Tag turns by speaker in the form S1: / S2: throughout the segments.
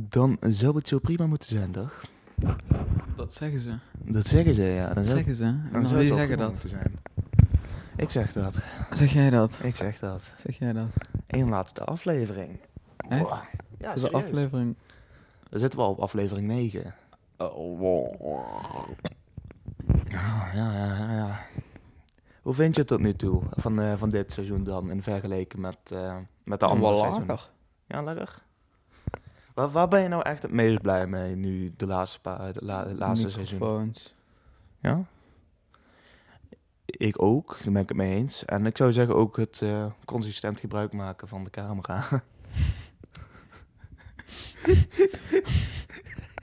S1: Dan zou het zo prima moeten zijn, toch?
S2: Dat zeggen ze.
S1: Dat zeggen ze, ja. Dan
S2: Dat
S1: zou,
S2: zeggen ze.
S1: dan zou
S2: Dan zou
S1: het
S2: je
S1: wel
S2: zeggen
S1: prima
S2: dat.
S1: moeten zijn. Ik zeg dat.
S2: Zeg jij dat?
S1: Ik zeg dat.
S2: Zeg jij dat?
S1: Eén laatste aflevering.
S2: Echt?
S1: Boah. Ja,
S2: Voor de
S1: serieus.
S2: aflevering.
S1: Dan zitten we al op aflevering 9.
S2: Oh,
S1: Ja, Ah, ja, ja, ja, ja. Hoe vind je het tot nu toe van, eh, van dit seizoen dan in vergelijking met, eh, met de andere seizoenen? Ja, lekker. Waar, waar ben je nou echt het meest blij mee nu de laatste, paar, de la- de laatste seizoen?
S2: Microfoons.
S1: Ja? Ik ook, daar ben ik het mee eens. En ik zou zeggen ook het eh, consistent gebruik maken van de camera.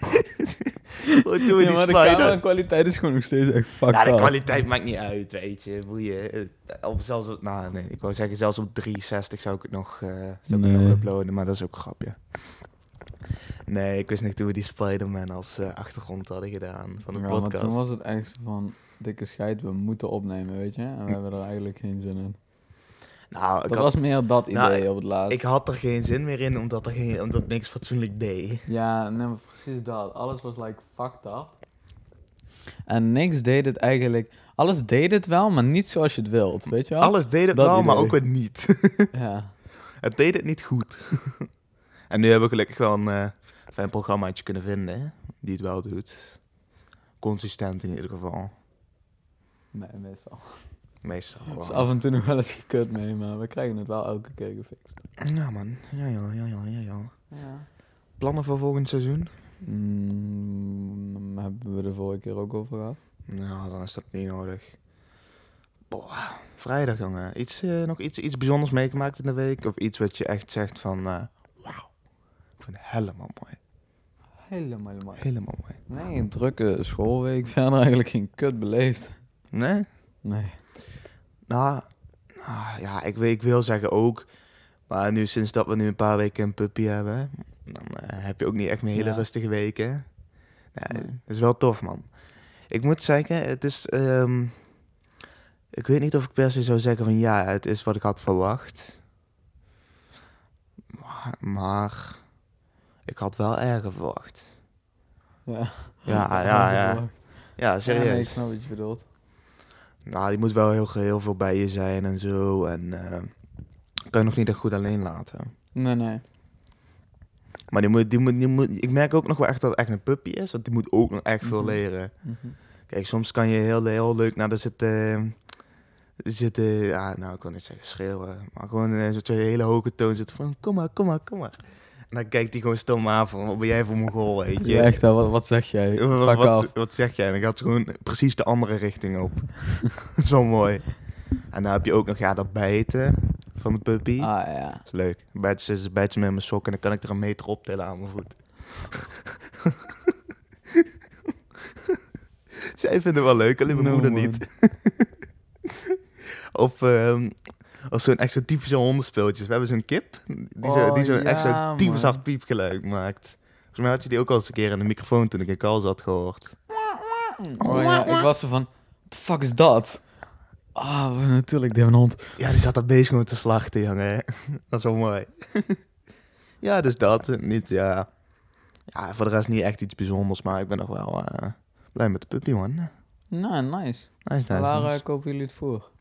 S1: Wat doe je die
S2: Ja, maar de Oh,
S1: spider?
S2: camera-kwaliteit is gewoon nog steeds echt fucked
S1: Ja, de
S2: up.
S1: kwaliteit maakt niet uit, weet je. Boeien. Eh, Of zelfs op, nou, nee, ik wou zeggen, zelfs op 360 zou ik het nog, eh, zou ik het nog
S2: Nee.
S1: uploaden, maar dat is ook een grapje. Nee, ik wist niet hoe we die Spider-Man als eh, achtergrond hadden gedaan van de
S2: Ja, maar
S1: podcast.
S2: toen was het echt zo van, dikke scheid, we moeten opnemen, weet je? En we hebben er eigenlijk geen zin in.
S1: Nou, ik
S2: dat
S1: had,
S2: was meer dat idee
S1: Nou,
S2: op het laatst.
S1: ik had er geen zin meer in, omdat, er geen, omdat niks fatsoenlijk deed.
S2: Ja, nee, maar precies dat. Alles was like fucked up. En niks deed het eigenlijk... Alles deed het wel, maar niet zoals je het wilt, weet je wel?
S1: Alles deed het
S2: dat
S1: wel, maar
S2: idee.
S1: ook weer niet.
S2: Ja.
S1: het deed het niet goed. en nu hebben we gelukkig wel een eh, fijn programmaatje kunnen vinden, hè, die het wel doet. Consistent in ieder geval.
S2: Nee, meestal.
S1: Meestal.
S2: Het is
S1: wel.
S2: af en toe nog wel eens gekut mee, maar we krijgen het wel elke keer gefixt.
S1: Ja, man. Ja, ja, ja, ja, ja, ja.
S2: Ja.
S1: Plannen voor volgend seizoen?
S2: Mm, hebben we de vorige keer ook over gehad.
S1: Nou, dan is dat niet nodig. Boah. Vrijdag, jongen. Iets, eh, nog iets, iets bijzonders meegemaakt in de week? Of iets wat je echt zegt van... eh, Wauw. Ik vind het helemaal mooi.
S2: Helemaal mooi.
S1: Helemaal mooi.
S2: Nee, een drukke schoolweek. Verder eigenlijk geen kut beleefd.
S1: Nee?
S2: Nee.
S1: Nou, nou, ja, ik, wil- ik wil zeggen ook... Maar nu, sinds dat we nu een paar weken een puppy hebben... Dan eh, heb je ook niet echt meer hele
S2: Ja.
S1: rustige weken. Nee,
S2: Nee.
S1: dat is wel tof, man. Ik moet zeggen, het is... ehm, ik weet niet of ik per se zou zeggen van... Ja, het is wat ik had verwacht. Maar, maar ik had wel erger verwacht.
S2: Ja.
S1: Ja, ja, ja.
S2: Ja,
S1: Ja, serieus.
S2: nee, ik snap wat je bedoelt.
S1: Nou, die moet wel heel, heel veel bij je zijn en zo. En eh, kan je nog niet echt goed alleen laten.
S2: Nee, nee.
S1: Maar die moet, die moet, die moet, ik merk ook nog wel echt dat het echt een puppy is. Want die moet ook nog echt veel
S2: Mhm.
S1: leren. Kijk, soms kan je heel, heel leuk naar de zitten... Zitten, ja, nou, ik wil niet zeggen schreeuwen. Maar gewoon in zo'n hele hoge toon zitten van... Kom maar, kom maar, kom maar. En dan kijkt hij gewoon stom aan van... Wat ben jij voor mongool, weet je?
S2: Ja, echt, hè, wat, wat zeg jij?
S1: Wat,
S2: Fuck
S1: wat,
S2: af.
S1: wat zeg jij? En dan gaat ze gewoon precies de andere richting op. Zo mooi. En dan heb je ook nog ja, dat bijten van de puppy.
S2: Ah, ja.
S1: Dat is leuk. Bijt ze, bijt ze met mijn sok en dan kan ik er een meter op tillen aan mijn voet. Zij vinden het wel leuk, alleen mijn
S2: No,
S1: moeder
S2: man.
S1: niet. of ehm, of zo'n extra typische hondenspeeltjes. We hebben zo'n kip die zo-
S2: Oh,
S1: die zo'n
S2: ja,
S1: extra typisch
S2: man.
S1: hard piepgeluid maakt. Volgens mij had je die ook al eens een keer in de microfoon toen ik in kal zat gehoord.
S2: Oh ja, ik was er van, what the fuck is dat? Ah, we- natuurlijk, dit een hond.
S1: Ja, die zat dat beest gewoon te slachten, jongen. Dat is wel mooi. ja, dus dat. Niet, ja. ja, voor de rest niet echt iets bijzonders, maar ik ben nog wel eh, blij met de puppy, man. Nice,
S2: Nou, nice.
S1: nice,
S2: Waar eh,
S1: nice.
S2: kopen jullie het voor?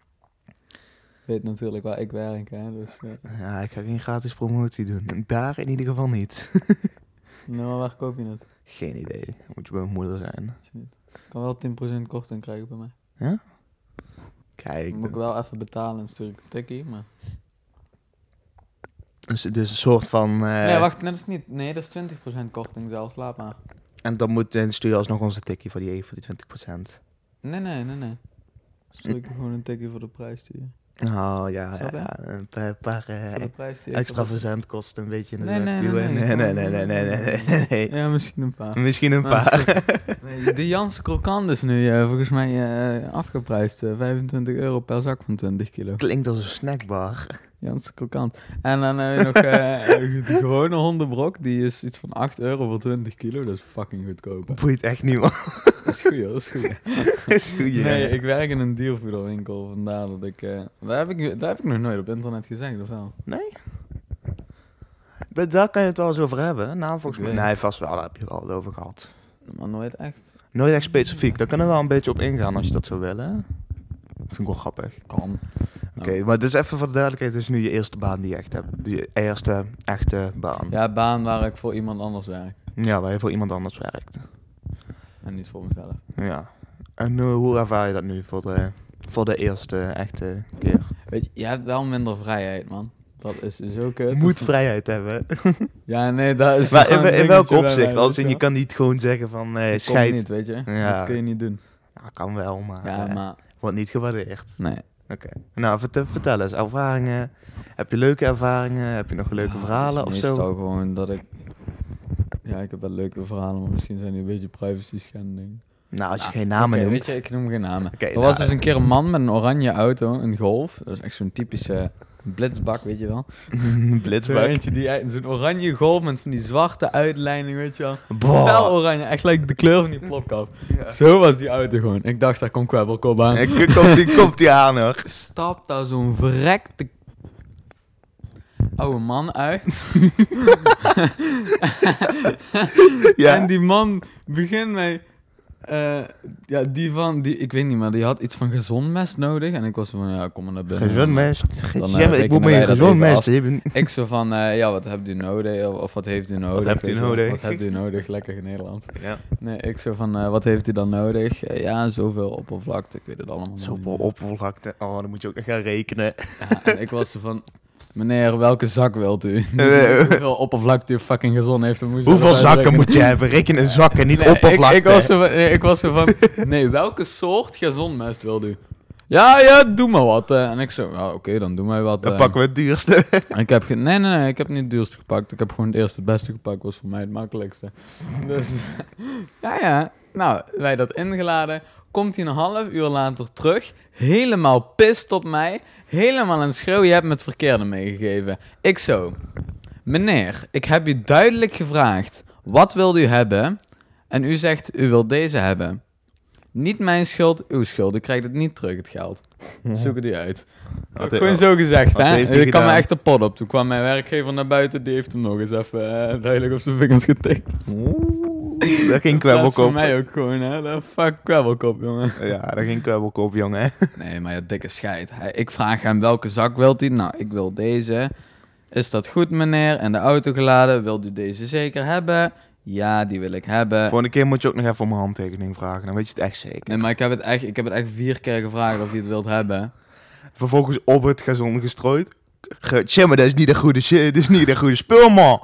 S2: Weet natuurlijk waar ik werk, hè, dus... eh.
S1: Ja, ik ga geen gratis promotie doen. En Daar in ieder geval niet.
S2: Nee, maar waar koop je het?
S1: Geen idee. Moet je bij mijn moeder zijn.
S2: Weet je niet. Ik kan wel 10% korting krijgen bij mij.
S1: Kijk,
S2: Moet ik wel even betalen en stuur ik een tikkie, maar...
S1: dus, dus een soort van... eh,
S2: nee, wacht, net is niet... Nee, dat is 20% korting zelfs, laat maar.
S1: En dan moet, en stuur je alsnog onze tikkie voor die, voor die 20%.
S2: Nee, nee, nee, nee. Stuur ik gewoon een tikkie voor de prijs die je...
S1: Oh, ja.
S2: Snap je?
S1: ja een paar, paar eh,
S2: Voor de prijs die je
S1: extra
S2: voor-
S1: verzendkosten een beetje in de
S2: Nee,
S1: zak
S2: nee, nee,
S1: duwen.
S2: nee,
S1: nee,
S2: gewoon-
S1: nee, nee, nee, nee,
S2: nee,
S1: nee, nee.
S2: Ja, misschien een paar.
S1: Misschien een
S2: Nou,
S1: paar.
S2: Nee, de Jans krokant is nu eh, volgens mij eh, afgeprijsd. eh, 25 euro per zak van 20 kilo.
S1: Klinkt als een snackbar.
S2: Jans krokant. En dan heb je nog eh, de gewone hondenbrok. Die is iets van 8 euro voor 20 kilo. Dat is fucking goedkoop. hè.
S1: Boeit echt niemand.
S2: Dat is goed, joh, dat is goed.
S1: Is goed, ja.
S2: Nee, ik werk in een diervoederwinkel, vandaar dat ik... eh, daar, heb ik daar heb ik nog nooit op internet gezegd, of wel?
S1: Nee? Da- Daar kan je het wel eens over hebben. Nou, volgens
S2: Ik
S1: mij.
S2: weet
S1: Nee, vast wel. Daar heb je het al over gehad.
S2: Maar nooit echt.
S1: Nooit echt specifiek. Daar kunnen we wel een beetje op ingaan als je dat zou willen. Vind ik wel grappig.
S2: Kan. Oh.
S1: Oké, maar dit is even voor de duidelijkheid. Dit is nu je eerste baan die je echt hebt. Je eerste echte baan. Ja,
S2: Ja, baan waar ik voor iemand anders werk.
S1: waar je voor iemand anders werkt.
S2: En niet voor mezelf.
S1: Ja. En eh, hoe ervaar je dat nu voor de, voor de eerste echte keer?
S2: Weet je, je hebt wel minder vrijheid, man. Dat is zo kut.
S1: Moet vrijheid hebben.
S2: Ja, nee, dat is
S1: Maar
S2: wel
S1: in,
S2: een
S1: in welk
S2: dingetje bij
S1: opzicht?
S2: mij,
S1: Als
S2: weet
S1: in, je
S2: wel.
S1: kan niet gewoon zeggen van eh
S2: Dat komt
S1: scheid.
S2: niet, weet je.
S1: Ja.
S2: Dat kun je niet doen.
S1: Ja, Nou, kan wel, maar,
S2: Ja,
S1: eh,
S2: maar...
S1: wordt niet gewaardeerd.
S2: Nee.
S1: Oké. Nou, vert- vertel eens. Ervaringen. Heb je leuke ervaringen? Heb je nog leuke
S2: Ja,
S1: verhalen
S2: het
S1: of
S2: is
S1: zo?
S2: meestal gewoon dat ik... Ja, ik heb wel leuke verhalen, maar misschien zijn die een beetje privacy schending.
S1: Nou, als je
S2: Nou,
S1: geen namen
S2: Oké,
S1: noemt.
S2: weet je, ik noem geen namen.
S1: Oké,
S2: er
S1: nou,
S2: was dus een keer een man met een oranje auto, een Golf. Dat is echt zo'n typische blitzbak, weet je wel. Zo
S1: Blitzbak.
S2: eentje die uit- zo'n oranje Golf met van die zwarte uitlijning, weet je wel.
S1: Boah.
S2: Fel oranje, echt gelijk de kleur van die plopkap.
S1: Ja.
S2: Zo was die auto gewoon. Ik dacht, daar komt kwebbelkop aan.
S1: Eh, k- Komt die, komt die aan hoor.
S2: stapt daar zo'n verrekte oude man uit.
S1: Ja.
S2: En die man begint mij... eh, ja, die van... Die, ik weet niet, maar die had iets van gezond mes nodig. En ik was van, ja, kom maar naar binnen.
S1: Gezond mes.
S2: Dan, eh,
S1: Ja, maar ik moet met
S2: rekenen wij
S1: een
S2: dat
S1: gezond
S2: even
S1: mes.
S2: af.
S1: Je bent-
S2: Ik zo van, eh, ja, wat hebt u nodig? Of, of wat heeft u nodig?
S1: hebt u
S2: weet je wel?
S1: nodig?
S2: Wat hebt u nodig? Lekker in Nederland.
S1: Ja.
S2: Nee, ik zo van, eh, wat heeft u dan nodig? Eh, ja, zoveel oppervlakte. Ik weet het allemaal nog
S1: Zo
S2: niet
S1: op-
S2: meer.
S1: oppervlakte. Oh, dan moet je ook nog gaan rekenen.
S2: Ja, en ik was zo van... Meneer, welke zak wilt u?
S1: nee.
S2: Hoeveel oppervlakte u fucking gezond heeft. dan moet je
S1: Hoeveel
S2: dat
S1: zakken
S2: uitrekenen.
S1: moet je hebben? Rekenen zakken, niet
S2: Nee, ik-
S1: oppervlakte.
S2: Ik, was zo van, nee, ik was zo van... Nee, welke soort gezond mest wil u? Ja, ja, doe maar wat. eh. En ik zo, ja, oké, dan doe maar wat.
S1: Dan
S2: eh.
S1: pakken we het duurste.
S2: En ik heb geen... Nee, nee, nee, ik heb niet het duurste gepakt. Ik heb gewoon het eerste het beste gepakt. was voor mij het makkelijkste. Dus... ja, ja. Nou, wij dat ingeladen. Komt hij een half uur later terug. Helemaal pist op mij. Helemaal aan het schreeuwen. Je hebt me het verkeerde meegegeven. Ik zo... Meneer, ik heb u duidelijk gevraagd. Wat wilde u hebben? En u zegt, u wilt deze hebben. Niet mijn schuld, uw schuld. U krijgt het niet terug, het geld. Zoek het u uit.
S1: Wat
S2: Gewoon
S1: he-
S2: zo gezegd,
S1: wat
S2: hè?
S1: heeft hij
S2: Ik kwam me
S1: gedaan?
S2: echt de pot op. Toen kwam mijn werkgever naar buiten, die heeft hem nog eens even eh, duidelijk op zijn vingers getikt.
S1: Oeh, Daar ging
S2: Dat is
S1: kwebbelkop.
S2: voor mij ook gewoon, hè? De fuck kwebbelkop, jongen.
S1: Ja, daar ging kwebbelkop, jongen.
S2: Nee, maar ja, dikke scheid. Hij- Ik vraag hem welke zak wilt hij? Nou, ik wil deze. Is dat goed, meneer? En de auto geladen. Wilt u deze zeker hebben? Ja, die wil ik hebben.
S1: Volgende keer moet je ook nog even om een handtekening vragen. Dan weet je het echt zeker.
S2: Nee, maar ik heb, het echt, ik heb het echt vier keer gevraagd of hij het wilt hebben.
S1: Vervolgens op het gazon gestrooid. Ge- Tja, maar dat is niet de goede shit. Dat is niet de goede spul, man.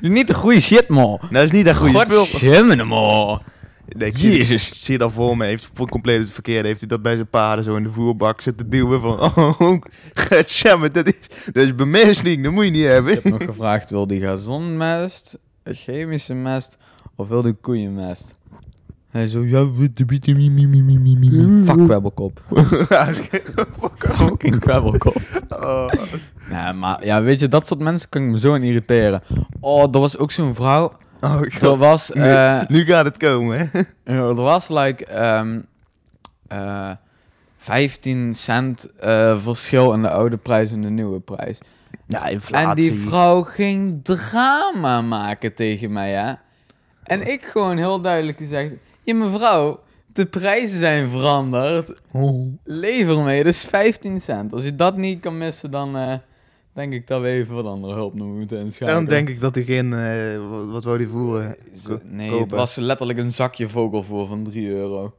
S2: Niet de goede shit, man.
S1: Dat is niet de goede spul.
S2: Godverdomme, man.
S1: Nee, ik zie-
S2: Jezus.
S1: Ik zie dat voor me. Heeft voor compleet het verkeerde. Heeft hij dat bij zijn paarden zo in de voerbak zitten duwen. Van, oh, godsamme, dat is, dat is bemesting. Dat moet je niet hebben.
S2: Ik heb nog gevraagd, wil die gazonmest, chemische mest of wil die koeienmest? Hij zo, ja, wat de biet- mie- mie- mie- mie- mie- mie. fuck kwebbelkop.
S1: Ja, is geen- fuck off.
S2: Fucking kwebbelkop.
S1: Oh.
S2: Nee, maar ja, weet je, dat soort mensen kan ik me zo aan irriteren. Oh, er was ook zo'n vrouw,
S1: Oh, god.
S2: er was...
S1: Nu,
S2: eh,
S1: nu gaat het komen, hè?
S2: Er was like ehm, eh, 15 cent eh, verschil in de oude prijs en de nieuwe prijs.
S1: Ja, inflatie.
S2: En die vrouw ging drama maken tegen mij, hè? En ik gewoon heel duidelijk gezegd: Je mevrouw, de prijzen zijn veranderd.
S1: Oh.
S2: Lever mee, dus 15 cent. Als je dat niet kan missen, dan eh, denk ik dat we even wat andere hulp moeten inschakelen.
S1: Daarom denk ik dat hij geen... eh, wat, wat wou die voeren?
S2: Zo- Nee, het
S1: kopen.
S2: was letterlijk een zakje vogelvoer van 3 euro.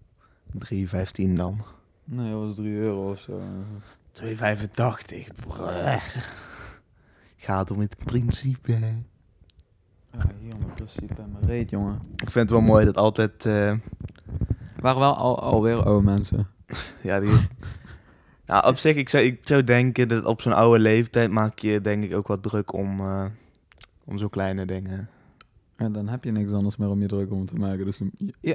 S1: 3,15 dan.
S2: Nee, dat was 3 euro of zo.
S1: 2,85. bruh. Gaat om het principe.
S2: Ja, hier in principe en mijn reet, jongen.
S1: Ik vind het wel mooi dat altijd... eh,
S2: Waren wel al, alweer oude mensen.
S1: ja, die... nou, op zich, ik zou, ik zou denken dat op zo'n oude leeftijd maak je denk ik ook wat druk om, eh, om zo'n kleine dingen.
S2: En dan heb je niks anders meer om je druk om te maken. Dus dan- ja.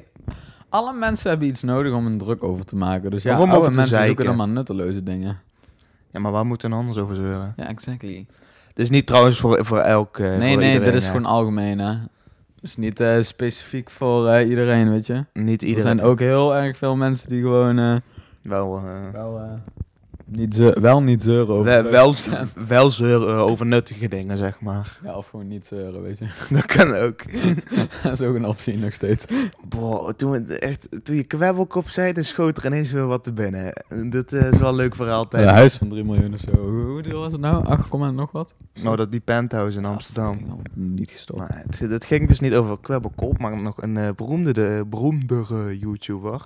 S2: Alle mensen hebben iets nodig om een druk over te maken. Dus ja,
S1: Of om
S2: oude
S1: over te
S2: mensen zoeken
S1: zeiken.
S2: dan maar nutteloze dingen.
S1: Ja, maar waar moet een anders over zeuren?
S2: Ja, exactly.
S1: Dit is niet trouwens voor, voor elk... eh,
S2: nee,
S1: voor
S2: nee,
S1: iedereen,
S2: dit is
S1: hè.
S2: gewoon algemeen, hè. Dus niet eh, specifiek voor eh, iedereen, weet je.
S1: Niet
S2: Er
S1: iedereen.
S2: zijn ook heel erg veel mensen die gewoon... eh,
S1: Wel, eh,
S2: wel, eh, Niet ze wel niet zeuren over
S1: We-
S2: leuke
S1: wel,
S2: scènes.
S1: wel zeuren over nuttige dingen, zeg maar.
S2: Ja, of gewoon niet zeuren, weet je.
S1: Dat kan ook.
S2: dat is ook een optie nog steeds.
S1: Boah, toen, we echt, toen je kwebbelkop zei, dan schoot er ineens weer wat te binnen. Dit eh, is wel een leuk voor
S2: Een
S1: altijd.
S2: huis van 3 miljoen of zo. Hoe hoe duur was het nou? 8, komma nog wat?
S1: Nou, dat die penthouse in Amsterdam.
S2: Niet gestopt.
S1: Maar het, het ging dus niet over kwebbelkop, maar nog een eh, beroemde, de, beroemdere YouTuber,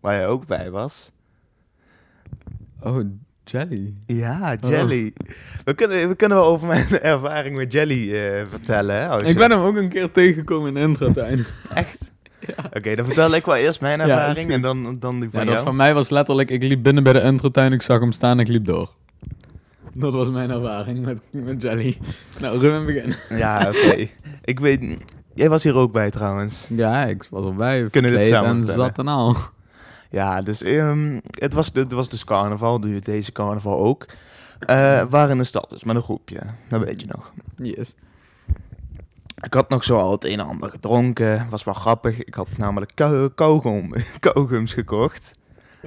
S1: waar jij ook bij was.
S2: Oh, Jelly.
S1: Ja, Jelly. Oh. We, kunnen, we kunnen wel over mijn ervaring met Jelly eh, vertellen. hè, als je-
S2: Ik ben hem ook een keer tegengekomen in Intratuin.
S1: Echt? Oké, dan vertel ik wel eerst mijn
S2: Ja, is
S1: ervaring
S2: goed.
S1: en dan, dan die van
S2: Ja, dat
S1: jou.
S2: van mij was letterlijk, ik liep binnen bij de Intratuin, ik zag hem staan, ik liep door. Dat was mijn ervaring met, met Jelly. Nou, Ruben begin.
S1: Ja, oké. ik weet... Jij was hier ook bij trouwens.
S2: Ja, ik was erbij.
S1: Kunnen we dit
S2: verkleed
S1: samen
S2: en
S1: vertellen?
S2: zat en al.
S1: Ja, dus ehm, het, was, het was dus carnaval, doe je deze carnaval ook. Eh waren in de stad dus, met een groepje. Dat weet je nog.
S2: Yes.
S1: Ik had nog zo al het een en ander gedronken. Was wel grappig. Ik had namelijk kou- kauwgom, kauwgums gekocht.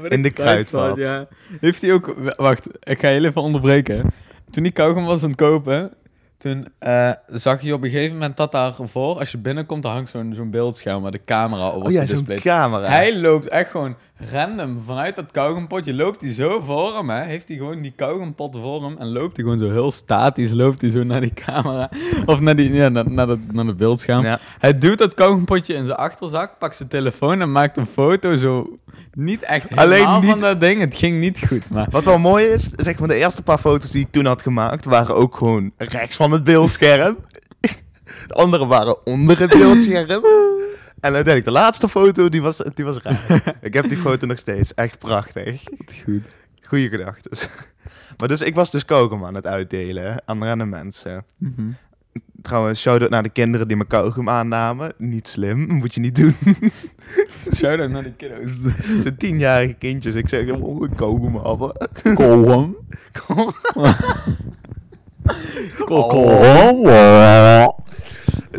S1: In de kruidvat.
S2: Ja. Heeft hij ook... w- Wacht, ik ga heel even onderbreken. Toen die kauwgom was aan het kopen... Toen eh, zag je op een gegeven moment dat daarvoor... Als je binnenkomt, dan hangt zo'n zo'n beeldscherm met de camera op
S1: Oh ja,
S2: het
S1: zo'n
S2: display.
S1: camera.
S2: Hij loopt echt gewoon random vanuit dat kauwgompotje. Loopt hij zo voor hem, hè? Heeft hij gewoon die kauwgompot voor hem. En loopt hij gewoon zo heel statisch. Loopt hij zo naar die camera. Of naar, die, ja, naar, naar, dat, naar het beeldscherm.
S1: Ja.
S2: Hij duwt dat kauwgompotje in zijn achterzak. Pakt zijn telefoon en maakt een foto. Zo niet echt helemaal
S1: Alleen niet-
S2: van dat ding. Het ging niet goed, maar...
S1: Wat wel mooi is, zeg maar de eerste paar foto's die ik toen had gemaakt, waren ook gewoon rechts van het beeldscherm. De andere waren onder het beeldscherm. En uiteindelijk de laatste foto, die was, die was raar. Ik heb die foto nog steeds. Echt prachtig.
S2: Niet goed.
S1: Goeie gedachten. Maar dus, ik was dus kauwgom aan het uitdelen aan random mensen. Trouwens, shout-out naar de kinderen die me kauwgom aannamen. Niet slim, moet je niet doen.
S2: Shout-out naar die kiddo's.
S1: De tienjarige kindjes. Ik zeg, oh, ik kauwgom hebben.
S2: Kolom.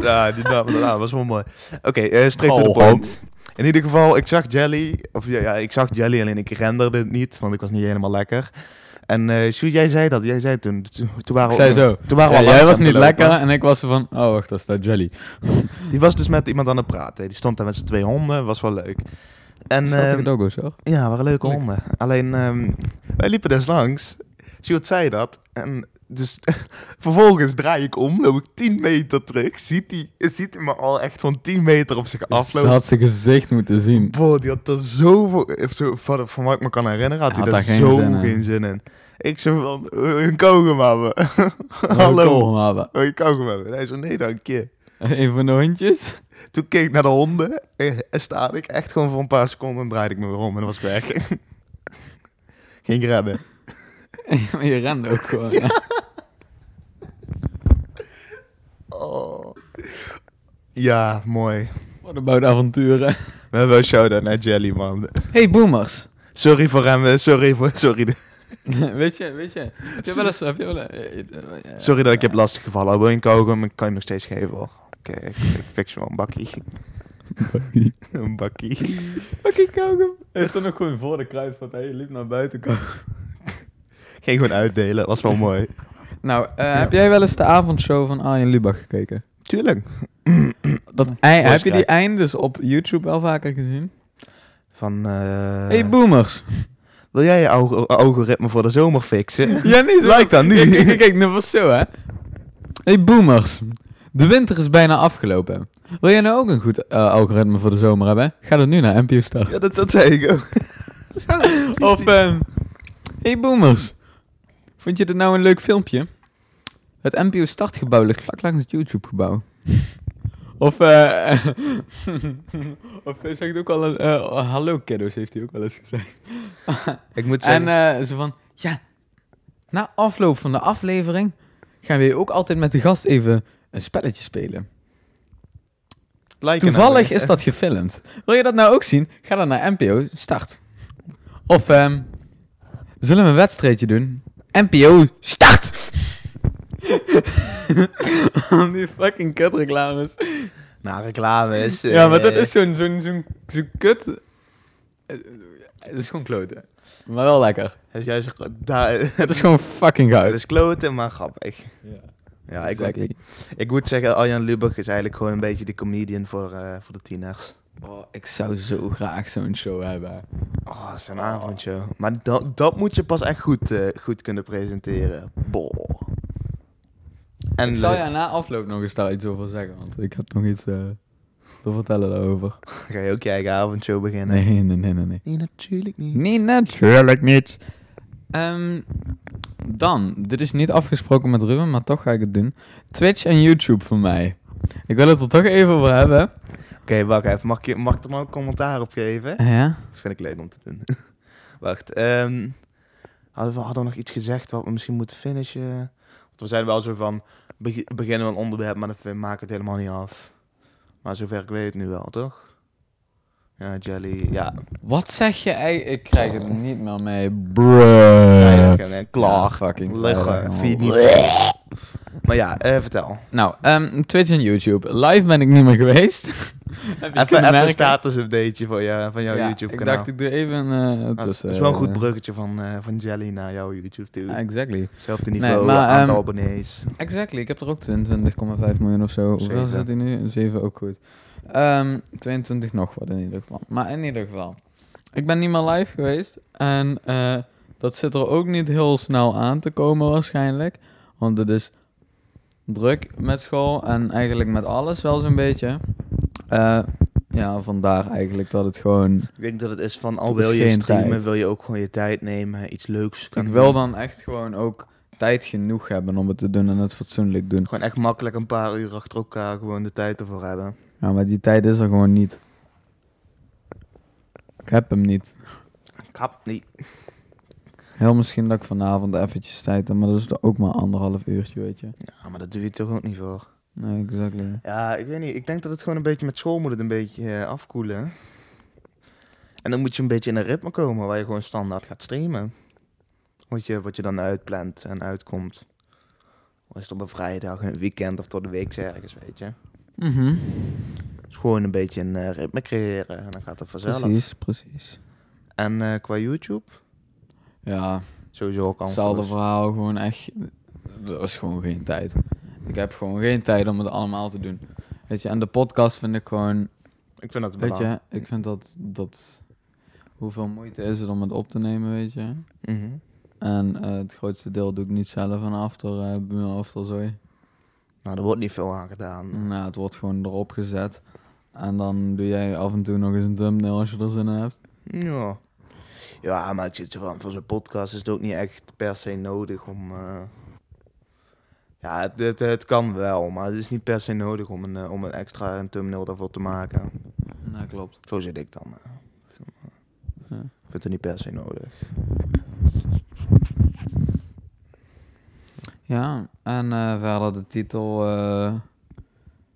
S1: Ja, die naam, die naam was wel mooi. Oké, eh straight to the
S2: Galgen.
S1: point. In ieder geval, ik zag Jelly. Of ja, ja, ik zag Jelly, alleen ik renderde het niet, want ik was niet helemaal lekker. En eh Sjoerd, jij zei dat. Jij zei toen... Toen, toen waren
S2: Ik
S1: we,
S2: zei zo.
S1: Toen waren we
S2: Ja,
S1: al
S2: jij
S1: langs
S2: was
S1: aan
S2: niet
S1: het lopen.
S2: lekker en ik was zo van... Oh, wacht, dat is dat jelly.
S1: Die was dus met iemand aan het praten. Die stond daar met zijn twee honden. Was wel leuk. En
S2: Zag ik
S1: ehm,
S2: het ook, hoor, zo?
S1: ja, waren leuke
S2: Leuk.
S1: honden. Alleen, ehm, wij liepen dus langs. Sjoerd zei dat. En dus vervolgens draai ik om, loop ik 10 meter terug. Ziet hij ziet hij me al echt van 10 meter op zich
S2: Ze
S1: aflopen.
S2: had zijn gezicht moeten zien.
S1: Boah, die had er zoveel... of Zo, van, van wat ik me kan herinneren, had
S2: Hij
S1: hij
S2: had
S1: daar
S2: daar geen
S1: zo
S2: zin in.
S1: geen zin in. Ik zei van, eh, een kauwgom hebben. Hallo.
S2: Hallo. mama.
S1: Wil je kauwgom hebben? En hij zei, nee dank je.
S2: Een van de hondjes.
S1: Toen keek ik naar de honden Eh, en staat ik echt gewoon voor een paar seconden en draaide ik me weer om en dat was ik weg. Ging rennen.
S2: Maar je rende ook gewoon.
S1: Oh. Ja, mooi.
S2: Wat een bout avonturen.
S1: We hebben een shout-out naar Jelly, man.
S2: Hey, boomers.
S1: Sorry voor hem, eh, sorry, voor, sorry, de-
S2: weet je, weet je. Heb je wel eens... eh, Heb je wel eens-
S1: sorry dat ik je heb lastig gevallen. Wil je een kauwgom? Ik kan je nog steeds geven, hoor. Oké, ik, ik fix je wel een bakkie. een bakkie.
S2: Fucking kauwgom. Hij stond ook gewoon voor de kruidvat. Hij liep naar buiten.
S1: Ging gewoon uitdelen, was wel mooi.
S2: Nou, eh, heb jij wel eens de avondshow van Arjen Lubach gekeken?
S1: Tuurlijk.
S2: Dat ei, heb je die
S1: krijgen.
S2: eindes op YouTube wel vaker gezien?
S1: Van, eh,
S2: hey, boomers.
S1: wil jij je alg- algoritme voor de zomer fixen?
S2: Ja, niet zo.
S1: Like dan
S2: Kijk,
S1: nu.
S2: kijk, kijk, kijk, dat was zo, hè. Hey, boomers. De winter is bijna afgelopen. Wil jij nou ook een goed eh, algoritme voor de zomer hebben? Ga dan nu naar NPO Start.
S1: Ja, dat, dat zei ik ook.
S2: Of, ehm hey, boomers. Vond je dit nou een leuk filmpje? Het NPO Startgebouw ligt vlak langs het YouTube-gebouw. Of, eh... of hij zegt ook al een... eh, hallo, kiddo's, heeft hij ook wel eens gezegd.
S1: Ik moet
S2: En
S1: zeggen,
S2: eh, ze van, ja, na afloop van de aflevering gaan we ook altijd met de gast even een spelletje spelen.
S1: liken
S2: Toevallig
S1: hebben.
S2: is dat gefilmd. Wil je dat nou ook zien? Ga dan naar NPO Start. Of ehm, zullen we een wedstrijdje doen? NPO Start! Die fucking kutreclames.
S1: Nou, reclame is...
S2: Ja, maar dat is zo'n zo'n zo'n zo'n kut... Eh, Het is gewoon kloten. Maar wel lekker.
S1: Het is juist... Daar,
S2: Het is gewoon fucking goud.
S1: het is kloten, maar grappig.
S2: Ja,
S1: Ja, ik,
S2: exactly.
S1: ik moet zeggen, Arjan Lubach is eigenlijk gewoon een beetje de comedian voor, eh, voor de tieners.
S2: Oh, ik zou zo graag zo'n show hebben.
S1: Oh, zo'n avondshow. Maar dat, dat moet je pas echt goed, eh, goed kunnen presenteren. Boah. En
S2: ik zal
S1: leuk.
S2: je na afloop nog eens daar iets over zeggen, want ik heb nog iets eh, te vertellen daarover.
S1: ga je ook je eigen avondshow beginnen? Hm?
S2: Nee, nee, nee, nee. nee.
S1: Nee, natuurlijk niet.
S2: Nee, natuurlijk niet. Ehm, dan, dit is niet afgesproken met Ruben, maar toch ga ik het doen. Twitch en YouTube voor mij. Ik wil het er toch even over hebben.
S1: Oké, wacht even. Mag ik, je- mag ik er maar een commentaar op geven?
S2: Ja?
S1: Dat vind ik leuk om te doen. wacht. ehm, hadden, we, hadden we nog iets gezegd wat we misschien moeten finishen? Want we zijn wel zo van... beg- beginnen we een onderwerp, maar we maken het helemaal niet af. Maar zover ik weet het nu wel, toch? Ja, Jelly. Ja,
S2: Wat zeg je eigenlijk? Ik krijg het niet meer mee. Bruh.
S1: Vrijdag en, eh, klaar.
S2: Ja, fucking vrijdag,
S1: Liggen.
S2: jongen.
S1: Vind je het niet. Maar ja, eh, vertel.
S2: Nou, ehm, Twitch en YouTube. Live ben ik niet meer geweest. Heb je
S1: Even,
S2: kunnen
S1: even een
S2: merken?
S1: status updateje van, jou van jouw
S2: Ja,
S1: YouTube
S2: Ik
S1: kanaal.
S2: dacht, ik doe even eh
S1: dat is-
S2: tussen.
S1: dat is wel een goed
S2: eh,
S1: bruggetje van, eh, van Jelly naar jouw YouTube toe.
S2: ja, exactly.
S1: Hetzelfde
S2: Nee,
S1: niveau,
S2: maar,
S1: aantal
S2: ehm,
S1: abonnees.
S2: Exactly, ik heb er ook 22,5 miljoen of zo. Hoeveel
S1: Zeven.
S2: zit hij nu? 7 ook goed. Ehm, 22 nog wat in ieder geval. Maar in ieder geval. Ik ben niet meer live geweest. En eh, dat zit er ook niet heel snel aan te komen waarschijnlijk. Want het is druk met school en eigenlijk met alles wel zo'n beetje. Eh, ja, vandaar eigenlijk dat het gewoon...
S1: Ik denk dat het is van, al
S2: er is
S1: wil je
S2: geen
S1: streamen,
S2: tijd.
S1: wil je ook gewoon je tijd nemen, iets leuks.
S2: Ik
S1: kunnen
S2: wil
S1: doen.
S2: dan echt gewoon ook tijd genoeg hebben om het te doen en het fatsoenlijk doen.
S1: Gewoon echt makkelijk een paar uur achter elkaar gewoon de tijd ervoor hebben.
S2: Ja, maar die tijd is er gewoon niet. Ik heb hem niet.
S1: Ik hap niet.
S2: Heel misschien dat ik vanavond eventjes tijd heb, maar dat is toch ook maar anderhalf uurtje, weet je.
S1: Ja, maar dat doe je toch ook niet voor.
S2: Nee, exactly.
S1: Ja, ik weet niet. Ik denk dat het gewoon een beetje met school moet het een beetje eh, afkoelen. En dan moet je een beetje in een ritme komen waar je gewoon standaard gaat streamen. Wat je, wat je dan uitplant en uitkomt. Of is het op een vrijdag, een weekend of tot de week ergens, weet je.
S2: Mhm.
S1: Dus gewoon een beetje een eh, ritme creëren en dan gaat het vanzelf.
S2: Precies, precies.
S1: En eh, qua YouTube,
S2: Ja,
S1: sowieso ook
S2: hetzelfde
S1: anders.
S2: verhaal, gewoon echt... Er is gewoon geen tijd. Ik heb gewoon geen tijd om het allemaal te doen. Weet je, en de podcast vind ik gewoon...
S1: Ik vind dat
S2: Weet
S1: belangrijk.
S2: je, ik vind dat, dat... Hoeveel moeite is het om het op te nemen, weet je?
S1: Mhm.
S2: En eh, het grootste deel doe ik niet zelf aan after, eh after zooi.
S1: Nou, er wordt niet veel aan gedaan.
S2: Nou, het wordt gewoon erop gezet. En dan doe jij af en toe nog eens een thumbnail als je er zin in hebt.
S1: Ja. Ja, maar ik zit zo van, voor zo'n podcast is het ook niet echt per se nodig om... eh, Ja, het, het, het kan wel, maar het is niet per se nodig om een, eh, om een extra een thumbnail daarvoor te maken.
S2: Nou, klopt.
S1: Zo zit ik dan. eh.
S2: Ja.
S1: Ik vind het niet per se nodig.
S2: Ja, en eh, verder de titel eh,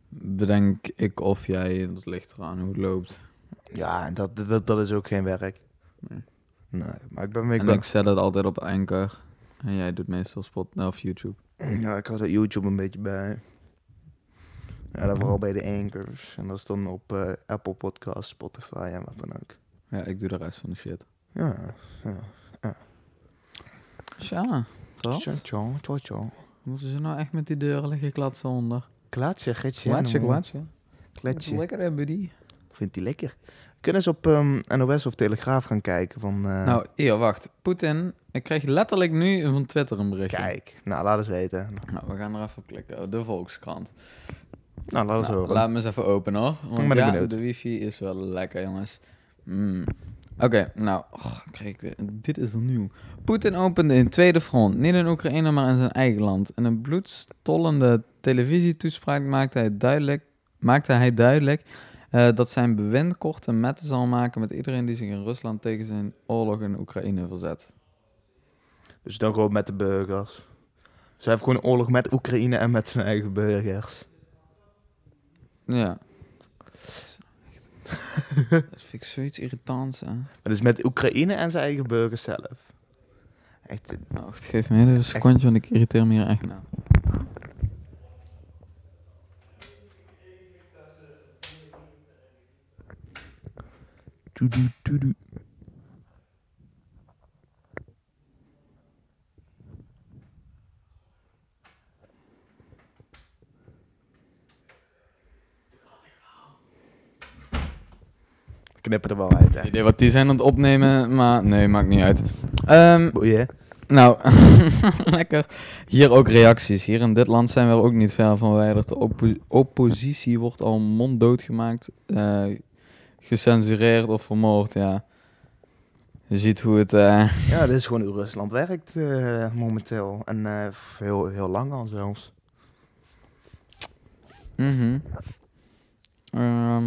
S2: bedenk ik of jij, dat ligt eraan hoe het loopt.
S1: Ja, en dat, dat, dat is ook geen werk.
S2: Nee.
S1: Nee, maar ik ben... Ik
S2: en
S1: ben
S2: ik zet het altijd op Anchor. En jij doet meestal spot of YouTube.
S1: Ja, ik had dat YouTube een beetje bij. Ja, dan vooral bij de anchors. En dat is dan op eh, Apple Podcasts, Spotify en wat dan ook.
S2: Ja, ik doe de rest van de shit.
S1: Ja, ja.
S2: Tja, wat?
S1: Tja, tja, tja, tja.
S2: Moeten ze nou echt met die deuren liggen klatsen onder?
S1: Klaatje, getje.
S2: Klatsen,
S1: man.
S2: klatsen.
S1: Kletje.
S2: Lekker hè, buddy.
S1: Vindt die lekker. Kunnen ze op ehm, NOS of Telegraaf gaan kijken van... eh,
S2: Nou, hier, wacht. Poetin, ik kreeg letterlijk nu van Twitter een berichtje.
S1: Kijk, nou laat eens weten.
S2: Nou, we gaan er even op klikken. De Volkskrant.
S1: Nou, laat eens
S2: Nou,
S1: horen.
S2: laat me eens even open hoor.
S1: ben
S2: Want
S1: ik
S2: ja,
S1: benieuwd.
S2: de wifi is wel lekker, jongens. Mm. Oké, nou, och, kreeg ik weer. Dit is nieuw. Poetin opende een tweede front. Niet in Oekraïne, maar in zijn eigen land. In een bloedstollende televisietoespraak maakte hij duidelijk, maakte hij duidelijk eh, dat zijn bewind korte metten zal maken met iedereen die zich in Rusland tegen zijn oorlog in Oekraïne verzet.
S1: Dus dan gewoon met de burgers. Ze heeft gewoon oorlog met Oekraïne en met zijn eigen burgers.
S2: Ja. Dat vind ik zoiets irritants, hè.
S1: Maar dus met Oekraïne en zijn eigen burgers zelf. Echt, eh,
S2: Nou, wacht, geef me even een secondje, want ik irriteer me hier echt naar.
S1: knippen er wel uit, hè.
S2: Idee wat die zijn aan het opnemen, maar nee, maakt niet uit. Ehm,
S1: Boeien.
S2: nou, lekker. Hier ook reacties. Hier in dit land zijn we er ook niet ver van verwijderd. De oppo- oppositie wordt al monddood gemaakt, eh, gecensureerd of vermoord, ja. Je ziet hoe het... eh,
S1: Ja, dit is gewoon hoe Rusland werkt eh, momenteel. En eh, heel, heel lang al zelfs.
S2: mhm. Ehm,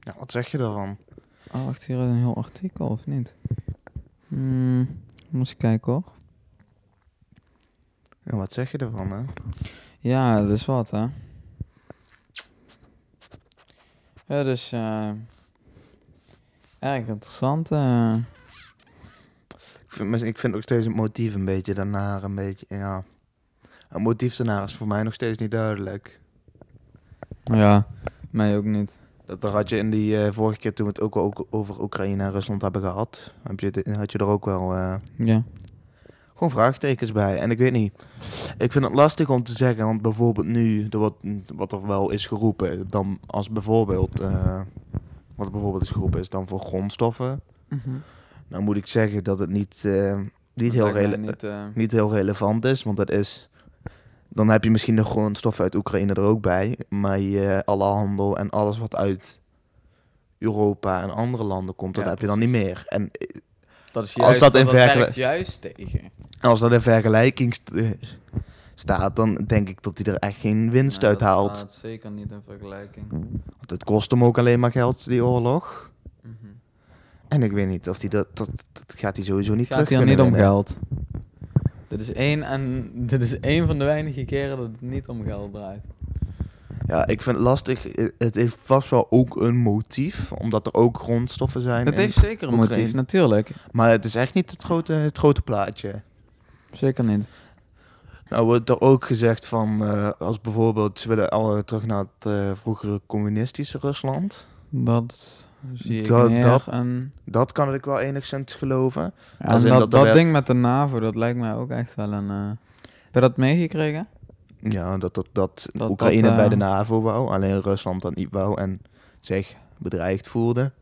S1: Ja, wat zeg je daarvan?
S2: Oh, wacht, hier is een heel artikel, of niet? Hmm, moet ik kijken hoor.
S1: Ja, wat zeg je daarvan, hè?
S2: Ja, dat is wat, hè? Ja, dus... eh erg interessant. eh.
S1: Ik vind, maar ik vind ook steeds het motief een beetje daarnaar een beetje, ja... Het motief daarnaar is voor mij nog steeds niet duidelijk.
S2: Ja, mij ook niet.
S1: Dat daar had je in die eh, vorige keer toen we het ook wel ook over Oekraïne en Rusland hebben gehad, heb je, de- had je er ook wel eh,
S2: Ja.
S1: gewoon vraagtekens bij. En ik weet niet, ik vind het lastig om te zeggen, want bijvoorbeeld nu, door wat, wat er wel is geroepen, dan als bijvoorbeeld, eh, wat er bijvoorbeeld is geroepen is dan voor grondstoffen,
S2: Mhm.
S1: dan moet ik zeggen dat het niet, eh, niet, heel rele-
S2: Niet, eh,
S1: niet heel relevant is, want dat is, dan heb je misschien de grondstoffen uit Oekraïne er ook bij, maar je, alle handel en alles wat uit Europa en andere landen komt, dat
S2: Ja,
S1: heb je dan niet meer. En eh,
S2: dat is
S1: als
S2: juist,
S1: dat in vergelijking-
S2: werkt juist tegen.
S1: als dat in vergelijking st- eh, staat, dan denk ik dat hij er echt geen winst
S2: Nee,
S1: uit
S2: Nou, dat
S1: haalt.
S2: staat zeker niet in vergelijking.
S1: Want het kost hem ook alleen maar geld, die oorlog.
S2: Mhm.
S1: En ik weet niet of hij dat, dat, dat gaat hij sowieso niet
S2: Het gaat
S1: terug
S2: hier niet
S1: kunnen
S2: om
S1: winnen.
S2: geld. Dit is, één en, dit is één van de weinige keren dat het niet om geld draait.
S1: Ja, ik vind het lastig. Eh, Het heeft vast wel ook een motief, omdat er ook grondstoffen zijn.
S2: Het
S1: in-
S2: heeft zeker een
S1: Oekraïne.
S2: motief, natuurlijk.
S1: Maar het is echt niet het grote, het grote plaatje.
S2: Zeker niet.
S1: Nou wordt er ook gezegd van, eh, als bijvoorbeeld, ze willen alle terug naar het eh, vroegere communistische Rusland.
S2: Dat zie ik
S1: Dat-
S2: meer.
S1: dat-
S2: en
S1: Dat kan ik wel enigszins geloven.
S2: en
S1: in
S2: dat,
S1: dat
S2: dat,
S1: er werd-
S2: ding met de NAVO, dat lijkt mij ook echt wel een... eh, Heb je dat meegekregen?
S1: Ja, dat, dat, dat,
S2: dat,
S1: Oekraïne
S2: eh,
S1: bij de NAVO wou, alleen Rusland dat niet wou en zich bedreigd voelde.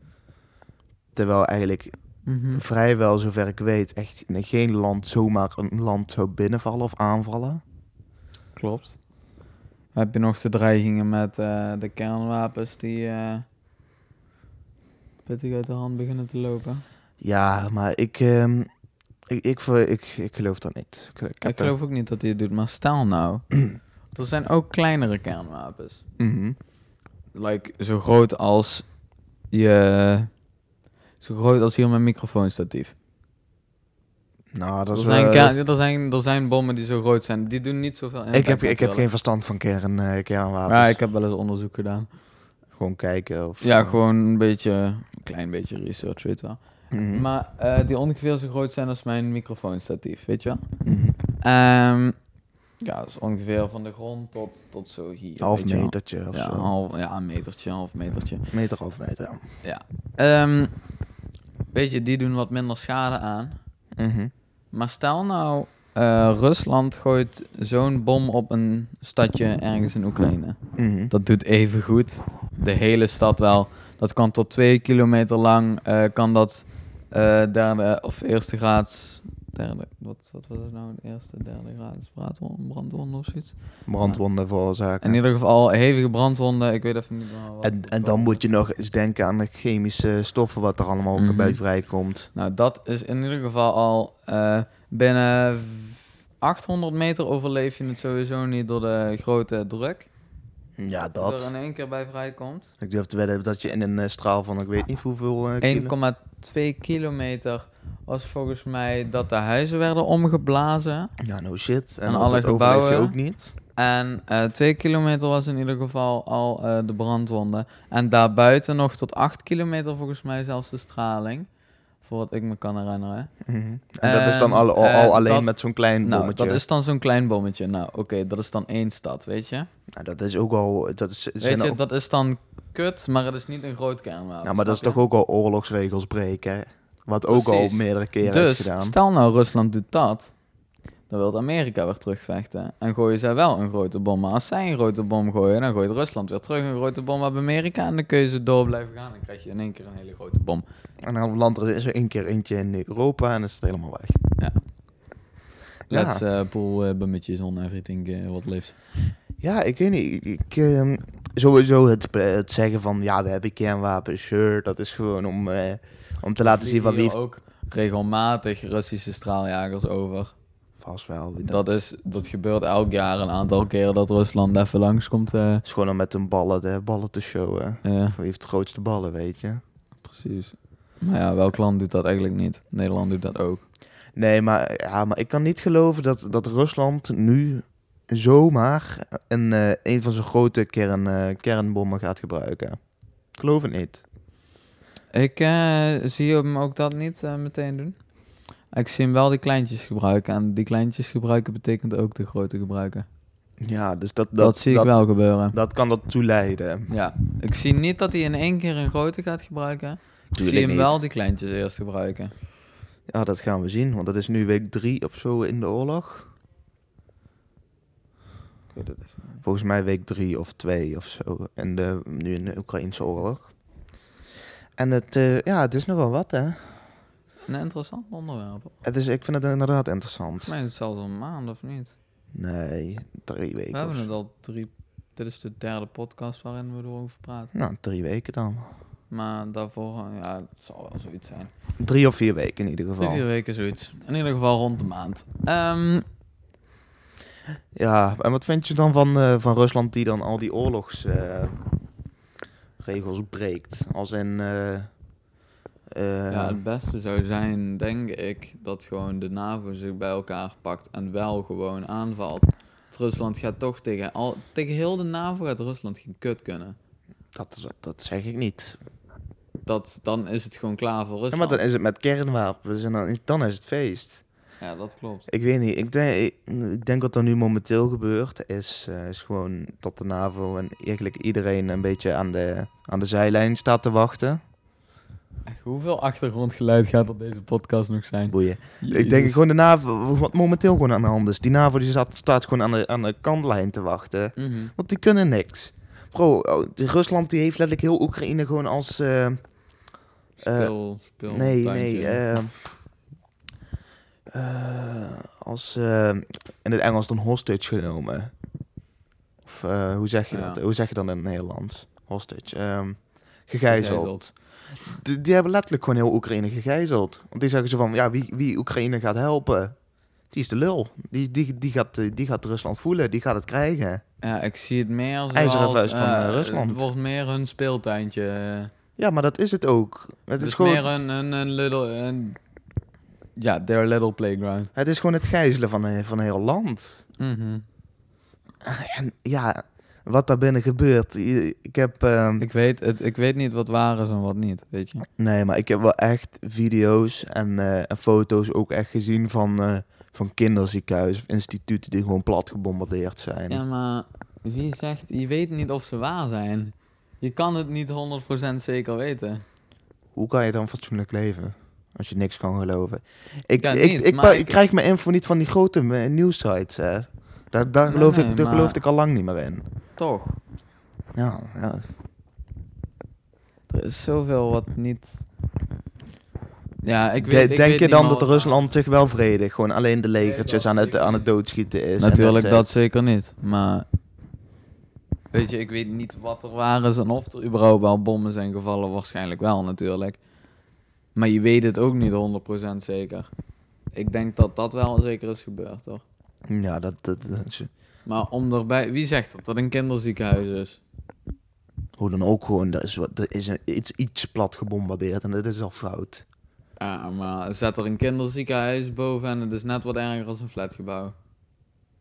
S1: Terwijl eigenlijk Mhm.
S2: Hm.
S1: vrijwel, zover ik weet, echt geen land zomaar een land zou binnenvallen of aanvallen.
S2: Klopt. Heb je nog de dreigingen met eh, de kernwapens die eh, pittig uit de hand beginnen te lopen?
S1: Ja, maar ik, ehm, ik, ik, ver- ik, ik geloof dat niet. Ik, ik heb
S2: Ik
S1: daar-
S2: geloof ook niet dat hij het doet, maar stel nou. er zijn ook kleinere kernwapens.
S1: Mhm.
S2: Like, zo groot als je... Zo groot als hier mijn microfoonstatief.
S1: Nou, dat
S2: Er
S1: is
S2: zijn,
S1: wel...
S2: kern- er, zijn, er zijn bommen die zo groot zijn. Die doen niet zoveel impact
S1: ik heb, ik heb
S2: natuurlijk.
S1: geen verstand van kern, eh, kernwapens.
S2: Ja, ik heb wel eens onderzoek gedaan.
S1: Gewoon kijken of...
S2: Ja, gewoon een beetje... Een klein beetje research, weet je wel.
S1: Mhm.
S2: Maar eh, die ongeveer zo groot zijn als mijn microfoonstatief, weet je wel.
S1: Mhm.
S2: Ehm, ja, dat is ongeveer van de grond tot, tot zo hier.
S1: half
S2: weet je wel.
S1: metertje of
S2: Ja, een
S1: zo.
S2: half, ja, een metertje, een half metertje.
S1: Meter, half meter, ja.
S2: Ehm, weet je, die doen wat minder schade aan.
S1: Mhm.
S2: Maar stel nou, eh, Rusland gooit zo'n bom op een stadje ergens in Oekraïne.
S1: Mhm.
S2: Dat doet even goed. De hele stad wel. Dat kan tot twee kilometer lang. eh, kan dat eh, derde of eerste graads. Derde, wat, wat was het nou? De eerste, derde graads braadwon- brandwonden of zoiets.
S1: brandwonden veroorzaken.
S2: In ieder geval hevige brandwonden. Ik weet even niet meer wat.
S1: En, en dan moet je nog eens denken aan de chemische stoffen wat er allemaal ook
S2: Mhm.
S1: bij vrijkomt.
S2: Nou, dat is in ieder geval al eh, binnen 800 meter overleef je het sowieso niet door de grote druk
S1: Ja,
S2: die
S1: dat.
S2: er in één keer bij vrijkomt.
S1: Ik durf te wedden dat je in een eh, straal van ik weet niet hoeveel eh, kilo...
S2: 1,2 kilometer was volgens mij dat de huizen werden omgeblazen.
S1: Ja, no shit. En,
S2: Aan
S1: dat
S2: alle
S1: overleef je
S2: gebouwen.
S1: ook niet.
S2: En eh 2 kilometer was in ieder geval al eh, de brandwonden. En daarbuiten nog tot 8 kilometer volgens mij zelfs de straling. Voor wat ik me kan herinneren.
S1: Mhm. En dat is dan
S2: Ehm,
S1: al, al,
S2: eh,
S1: al alleen
S2: dat-
S1: met zo'n klein
S2: Nou,
S1: bommetje.
S2: dat is dan zo'n klein bommetje. Nou, oké, dat is dan één stad, weet je?
S1: Nou, dat is ook al... Dat is, zijn
S2: Weet je,
S1: al-
S2: dat is dan kut, maar het is niet een groot kernwapen.
S1: ja, Nou, maar dat is
S2: snap
S1: toch
S2: je?
S1: ook al oorlogsregels breken. Wat ook al
S2: Precies.
S1: meerdere keren is
S2: Dus,
S1: gedaan.
S2: stel nou Rusland doet dat, Dan wil Amerika weer terugvechten. En gooien zij wel een grote bom. Maar als zij een grote bom gooien, dan gooit Rusland weer terug een grote bom op Amerika. En dan kun je ze door blijven gaan. Dan krijg je in één keer een hele grote bom.
S1: En dan landt er zo één keer eentje in Europa en is het helemaal weg. Ja.
S2: Let's uh, pull uh, bummetjes on everything uh, what lives.
S1: Ja, ik weet niet. Ik, ehm, sowieso het, het zeggen van ja, we hebben kernwapens, sure. Dat is gewoon om, eh, om te laten zien
S2: Vliegen
S1: van wie
S2: hier
S1: heeft...
S2: ook regelmatig Russische straaljagers over.
S1: Vast wel. wie
S2: Dat, is, dat gebeurt elk jaar een aantal keren dat Rusland even langskomt. eh
S1: is gewoon om met hun ballen, de ballen te showen.
S2: eh,
S1: Wie heeft de grootste ballen, weet je?
S2: precies. Maar ja, welk land doet dat eigenlijk niet? Nederland doet dat ook.
S1: Nee, maar, ja, maar ik kan niet geloven dat, dat Rusland nu zomaar een, eh, een van zijn grote kern, eh, kernbommen gaat gebruiken. Ik geloof het niet.
S2: Ik eh, zie hem ook dat niet eh, meteen doen. Ik zie hem wel die kleintjes gebruiken. En die kleintjes gebruiken betekent ook de grote gebruiken.
S1: Ja, dus dat,
S2: Dat, zie ik wel gebeuren.
S1: Dat kan dat toeleiden.
S2: Ja, ik zie niet dat hij in één keer een grote gaat gebruiken. Ik zie hem wel die kleintjes eerst gebruiken.
S1: Ja, dat gaan we zien, want dat is nu week drie of zo in de oorlog. Volgens mij week drie of twee of zo. En de, nu in de Oekraïnse oorlog. En het, eh, ja, het is nogal wat, hè?
S2: Een interessant onderwerp.
S1: Het is, ik vind het inderdaad interessant.
S2: Maar het is zelfs al een maand of niet.
S1: Nee, drie weken.
S2: we
S1: of
S2: hebben
S1: zo.
S2: het al drie. Dit is de derde podcast waarin we erover praten.
S1: Nou, drie weken dan.
S2: Maar daarvoor, eh, ja, het zal wel zoiets zijn.
S1: Drie of vier weken in ieder
S2: Drie, vier
S1: geval.
S2: weken zoiets. In ieder geval rond de maand. Ehm,
S1: Ja, en wat vind je dan van, eh, van Rusland die dan al die oorlogsregels breekt? Als in... eh, eh,
S2: ja,
S1: Ehm.
S2: het beste zou zijn, denk ik, dat gewoon de NAVO zich bij elkaar pakt en wel gewoon aanvalt. Want Rusland gaat toch tegen, al, tegen heel de NAVO gaat Rusland geen kut kunnen.
S1: dat, dat, dat zeg ik niet.
S2: Dat, dan is het gewoon klaar voor
S1: Ja,
S2: Rusland.
S1: maar dan is het met kernwapens en dan is, dan is het feest.
S2: Ja, dat klopt.
S1: Ik weet niet, ik denk, ik denk wat er nu momenteel gebeurt is, eh, is gewoon dat de NAVO en eigenlijk iedereen een beetje aan de, aan de zijlijn staat te wachten.
S2: Echt, hoeveel achtergrondgeluid gaat op deze podcast nog zijn?
S1: Boeien. Ik denk gewoon de NAVO, wat momenteel gewoon aan de hand is. Die NAVO die staat, staat gewoon aan de, aan de kantlijn te wachten.
S2: Mhm.
S1: Want die kunnen niks. Bro, oh, die Rusland die heeft letterlijk heel Oekraïne gewoon als... eh,
S2: Speel, speel.
S1: nee,
S2: tuintje.
S1: nee. eh, eh, als eh, in het Engels dan hostage genomen. Of eh, hoe, zeg je
S2: Ja.
S1: dat? hoe zeg je dat in het Nederlands? Hostage. ehm, gegijzeld. Die, die hebben letterlijk gewoon heel Oekraïne gegijzeld. Want die zeggen ze van, ja, wie, wie Oekraïne gaat helpen, die is de lul. Die, die, die, gaat, eh, die gaat Rusland voelen, die gaat het krijgen.
S2: Ja, ik zie het meer zoals...
S1: IJzeren vuist van,
S2: eh,
S1: eh, Rusland.
S2: Het wordt meer hun speeltuintje.
S1: Ja, maar dat is het ook. Het
S2: Het
S1: is,
S2: is
S1: gewoon,
S2: meer een, een, een little... een- Ja, their little playground.
S1: het is gewoon het gijzelen van, een- van een heel land.
S2: Mhm.
S1: En ja, wat daar binnen gebeurt. i- Ik heb... ehm,
S2: ik, weet, het, ik weet niet wat waar is en wat niet, weet je.
S1: Nee, maar ik heb wel echt video's en, eh, en foto's ook echt gezien van, eh van kinderziekenhuizen of instituten die gewoon plat gebombardeerd zijn.
S2: Ja, maar wie zegt... Je weet niet of ze waar zijn. Je kan het niet 100% zeker weten.
S1: Hoe kan je dan fatsoenlijk leven? Als je niks kan geloven. Ik,
S2: Ja,
S1: ik,
S2: niet,
S1: ik,
S2: maar
S1: pa-
S2: ik-
S1: ik krijg mijn info niet van die grote eh, nieuwsites. Hè. Daar, daar,
S2: Nee,
S1: geloof
S2: nee,
S1: ik, daar
S2: maar-
S1: geloofde ik al lang niet meer in.
S2: Toch.
S1: Ja, ja.
S2: Er is zoveel wat niet... Ja, ik
S1: De-
S2: weet, ik
S1: denk
S2: weet
S1: je
S2: niet
S1: dan
S2: meer
S1: dat
S2: wat waar-
S1: Rusland zich wel vredig, gewoon alleen de legertjes
S2: dat
S1: aan, het,
S2: zeker
S1: aan
S2: niet.
S1: het doodschieten is? en
S2: Natuurlijk
S1: that's
S2: dat
S1: it?
S2: zeker niet, maar... Weet je, ik weet niet wat er waar is en of er überhaupt wel bommen zijn gevallen. Waarschijnlijk wel, natuurlijk. Maar je weet het ook niet 100% zeker. Ik denk dat dat wel zeker is gebeurd, hoor.
S1: Ja, dat, dat, dat is-
S2: Maar om erbij... Wie zegt dat dat een kinderziekenhuis is?
S1: hoe dan ook gewoon, er is, wat, er is een- iets, iets plat gebombardeerd en dat is al fout.
S2: Ja, maar zet er een kinderziekenhuis boven en het is net wat erger als een flatgebouw.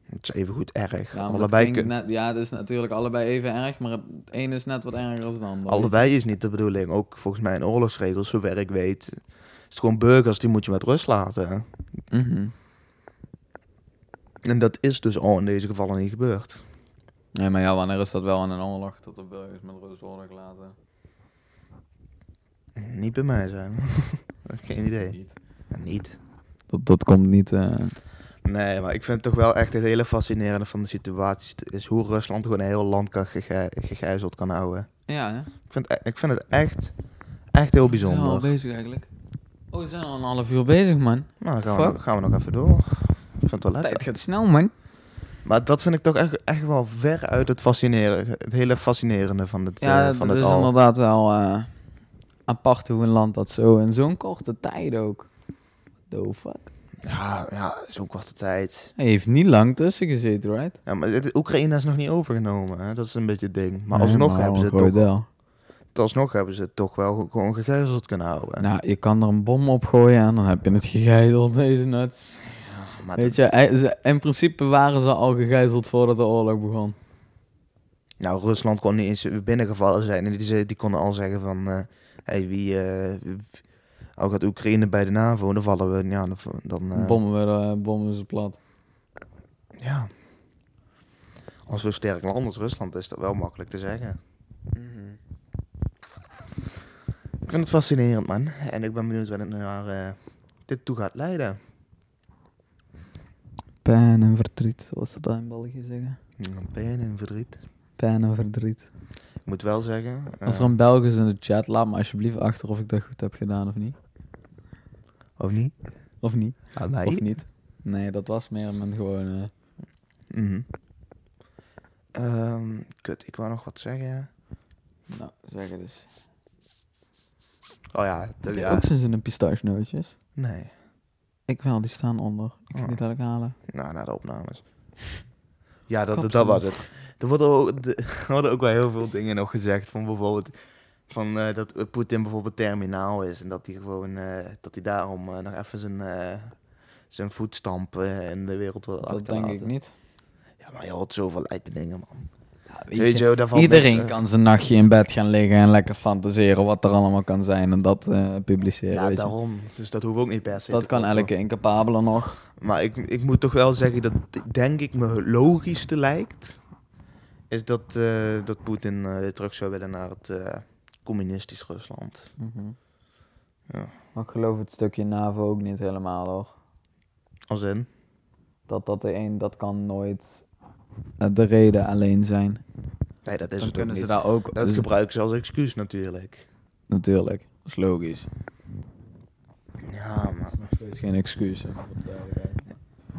S1: Het is even goed erg.
S2: Ja, maar dat
S1: allebei,
S2: klinkt
S1: kun-
S2: net- ja, het is natuurlijk allebei even erg, maar het een is net wat erger dan het ander.
S1: allebei is niet de bedoeling. Ook volgens mij in oorlogsregels, zover ik weet, is het gewoon burgers die moet je met rust laten.
S2: Mhm.
S1: En dat is dus al in deze gevallen niet gebeurd.
S2: Nee, maar ja, wanneer is dat wel in een oorlog dat de burgers met rust worden gelaten?
S1: Niet bij mij zijn. Geen idee.
S2: Niet.
S1: Ja, niet.
S2: Dat, dat komt niet. eh,
S1: Nee, maar ik vind het toch wel echt het hele fascinerende van de situatie is hoe Rusland gewoon een heel land kan gege- gegijzeld kan houden.
S2: Ja, hè?
S1: Ik vind, e- ik vind het echt, echt heel
S2: We zijn al
S1: bijzonder.
S2: bezig eigenlijk. Oh, we zijn al een half uur bezig, man.
S1: Nou, dan gaan we, nog- gaan we nog even door. Ik vind het wel lekker.
S2: Tijd gaat snel, man.
S1: Maar dat vind ik toch echt, echt wel ver uit het fascinerende, het hele fascinerende van het,
S2: Ja,
S1: eh,
S2: dat
S1: van het
S2: is
S1: al.
S2: inderdaad wel eh, apart hoe een land dat zo in zo'n korte tijd ook. Doof, fuck.
S1: Ja, ja zo'n korte tijd.
S2: Hij heeft niet lang tussen gezeten, right?
S1: Ja, maar het, Oekraïne is nog niet overgenomen, hè? dat is een beetje het ding. Maar alsnog, hebben, ze het toch,
S2: wel.
S1: alsnog hebben ze het toch wel ge- gewoon gegijzeld kunnen houden.
S2: Nou, je kan er een bom op gooien en dan heb je het gegijzeld, deze nuts.
S1: maar
S2: Weet je, hij- ze- in principe waren ze al gegijzeld voordat de oorlog begon.
S1: Nou, Rusland kon niet eens binnengevallen zijn. En die, ze- die konden al zeggen van... eh hey, wie... eh, w- ook had Oekraïne bij de NAVO, dan vallen we... Ja, dan... dan eh,
S2: Bommen, werden, bommen ze plat.
S1: Ja. Als zo'n sterk land als Rusland is dat wel makkelijk te zeggen. Ik vind het fascinerend, man. En ik ben benieuwd waar het naar, eh, dit toe gaat leiden.
S2: Pijn en verdriet, zoals ze dat in België zeggen.
S1: Pijn en verdriet.
S2: Pijn en verdriet.
S1: Ik moet wel zeggen... eh,
S2: Als er een Belg is in de chat, laat me alsjeblieft achter of ik dat goed heb gedaan of niet.
S1: Of niet?
S2: Of niet.
S1: Aan
S2: Of niet? Nee, dat was meer mijn gewoon. eh,
S1: Mhm. Ehm, kut, ik wou nog wat zeggen.
S2: nou, zeg het eens.
S1: Oh ja, de-
S2: Heb je
S1: ja.
S2: ook zin in een pistachenootjes?
S1: Nee.
S2: Ik wel, die staan onder. Ik ga
S1: Oh.
S2: die dadelijk halen.
S1: Nou, na de opnames. Ja, dat,
S2: Kap
S1: dat,
S2: ze
S1: was het. Er worden, ook, de- er worden ook wel heel veel dingen nog gezegd. Van bijvoorbeeld van, eh, dat eh, Poetin bijvoorbeeld terminaal is. En dat hij gewoon eh, dat hij daarom eh, nog even zijn, eh, zijn voetstamp eh, in de wereld wil
S2: Dat denk ik
S1: achterlaten.
S2: niet.
S1: Ja, maar je hoort zoveel lijpe dingen, man.
S2: Ja, weet
S1: Weet
S2: je,
S1: je, wel, daarvan eh,
S2: Iedereen kan zijn nachtje in bed gaan liggen en lekker fantaseren wat er allemaal kan zijn en dat eh, publiceren.
S1: Ja,
S2: weet je.
S1: daarom. Dus dat hoeft ook niet per se.
S2: Dat
S1: te
S2: kan
S1: kloppen.
S2: elke incapabele nog.
S1: Maar ik, ik moet toch wel zeggen dat d- denk ik me het logischste lijkt. Is dat, eh, dat Poetin eh, terug zou willen naar het eh, communistisch Rusland.
S2: Mhm.
S1: Ja.
S2: Maar ik geloof het stukje NAVO ook niet helemaal hoor.
S1: Als in.
S2: Dat, dat, de een, dat kan nooit eh, de reden alleen zijn.
S1: Nee, dat is
S2: Dan
S1: het ook
S2: kunnen ze
S1: niet.
S2: daar ook...
S1: Dat
S2: dus-
S1: gebruiken ze als excuus natuurlijk.
S2: natuurlijk, dat is logisch.
S1: Ja, maar,
S2: Dat is geen excuus. hè, voor de duidelijkheid.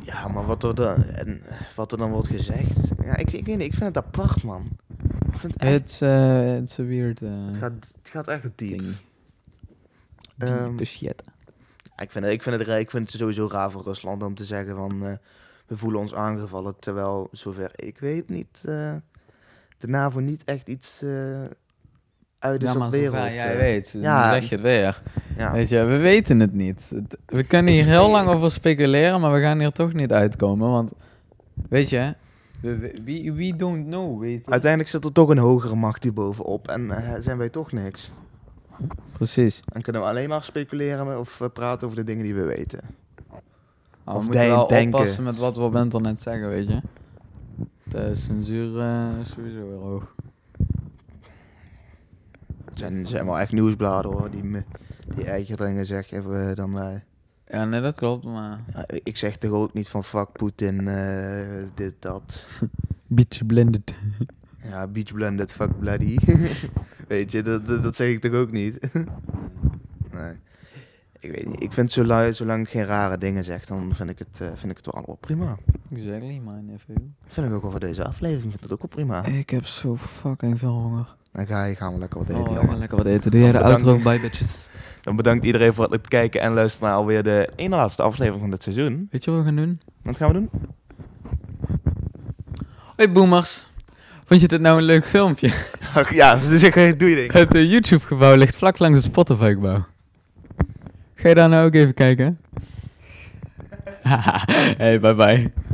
S1: ja, maar wat, er dan, en, wat er dan wordt gezegd. Ja, ik, ik weet niet, ik vind het apart, man. Ik vind het, echt-
S2: It's, eh, it's a weird eh,
S1: het, gaat, het gaat echt diep.
S2: thingy.
S1: Ehm,
S2: Diepe shit.
S1: Ik vind, het, ik, vind het, raar- ik vind het sowieso raar voor Rusland om te zeggen van eh, we voelen ons aangevallen. Terwijl, zover ik weet, niet, eh, de NAVO niet echt iets eh uit is
S2: ja, maar
S1: op wereld.
S2: zover jij
S1: eh.
S2: weet, dan
S1: ja.
S2: zeg je het weer.
S1: Ja.
S2: Weet je, we weten het niet. Het- We kunnen hier heel
S1: weet
S2: lang
S1: het.
S2: over speculeren, maar we gaan hier toch niet uitkomen. Want, weet je, we, we, we- we don't know, weet je.
S1: Uiteindelijk zit er toch een hogere macht hierbovenop en eh, zijn wij toch niks.
S2: Precies.
S1: Dan kunnen we alleen maar speculeren of eh, praten over de dingen die we weten.
S2: Maar we
S1: Of
S2: moeten
S1: denk-
S2: wel
S1: denken.
S2: oppassen met wat we op internet zeggen, weet je. De censuur eh, is sowieso weer hoog.
S1: Het zijn, zijn wel echt nieuwsbladen hoor, die, me- die eigen dingen zeggen eh, dan wij.
S2: Ja, nee, dat klopt, maar...
S1: Ja, ik zeg toch ook niet van fuck Poetin, eh, dit, dat.
S2: Beetje blended.
S1: Ja, beach blended, fuck bloody. weet je, dat, dat, dat zeg ik toch ook niet? nee. Ik weet niet. Ik vind zolang, zolang het geen rare dingen zegt, dan vind ik het, eh, vind ik het wel allemaal prima.
S2: Exactly, my nephew.
S1: Vind ik ook wel voor deze aflevering, vind ik het ook wel prima.
S2: Ik heb zo fucking veel honger.
S1: Dan ga je, gaan we lekker wat eten,
S2: Oh,
S1: jongen.
S2: ja, lekker wat eten. Doe jij de
S3: Bedankt.
S2: outro bij, bitches.
S3: Dan bedankt iedereen voor het kijken en luisteren naar alweer de ene laatste aflevering van dit seizoen.
S2: Weet je wat we gaan doen?
S3: Wat gaan we doen?
S2: Hoi boomers. Vond je dit nou een leuk filmpje?
S1: Ach, ja, dus ik ga- doe je ding.
S2: Het eh, YouTube-gebouw ligt vlak langs het Spotify-gebouw. Ga je daar nou ook even kijken? hey, bye bye.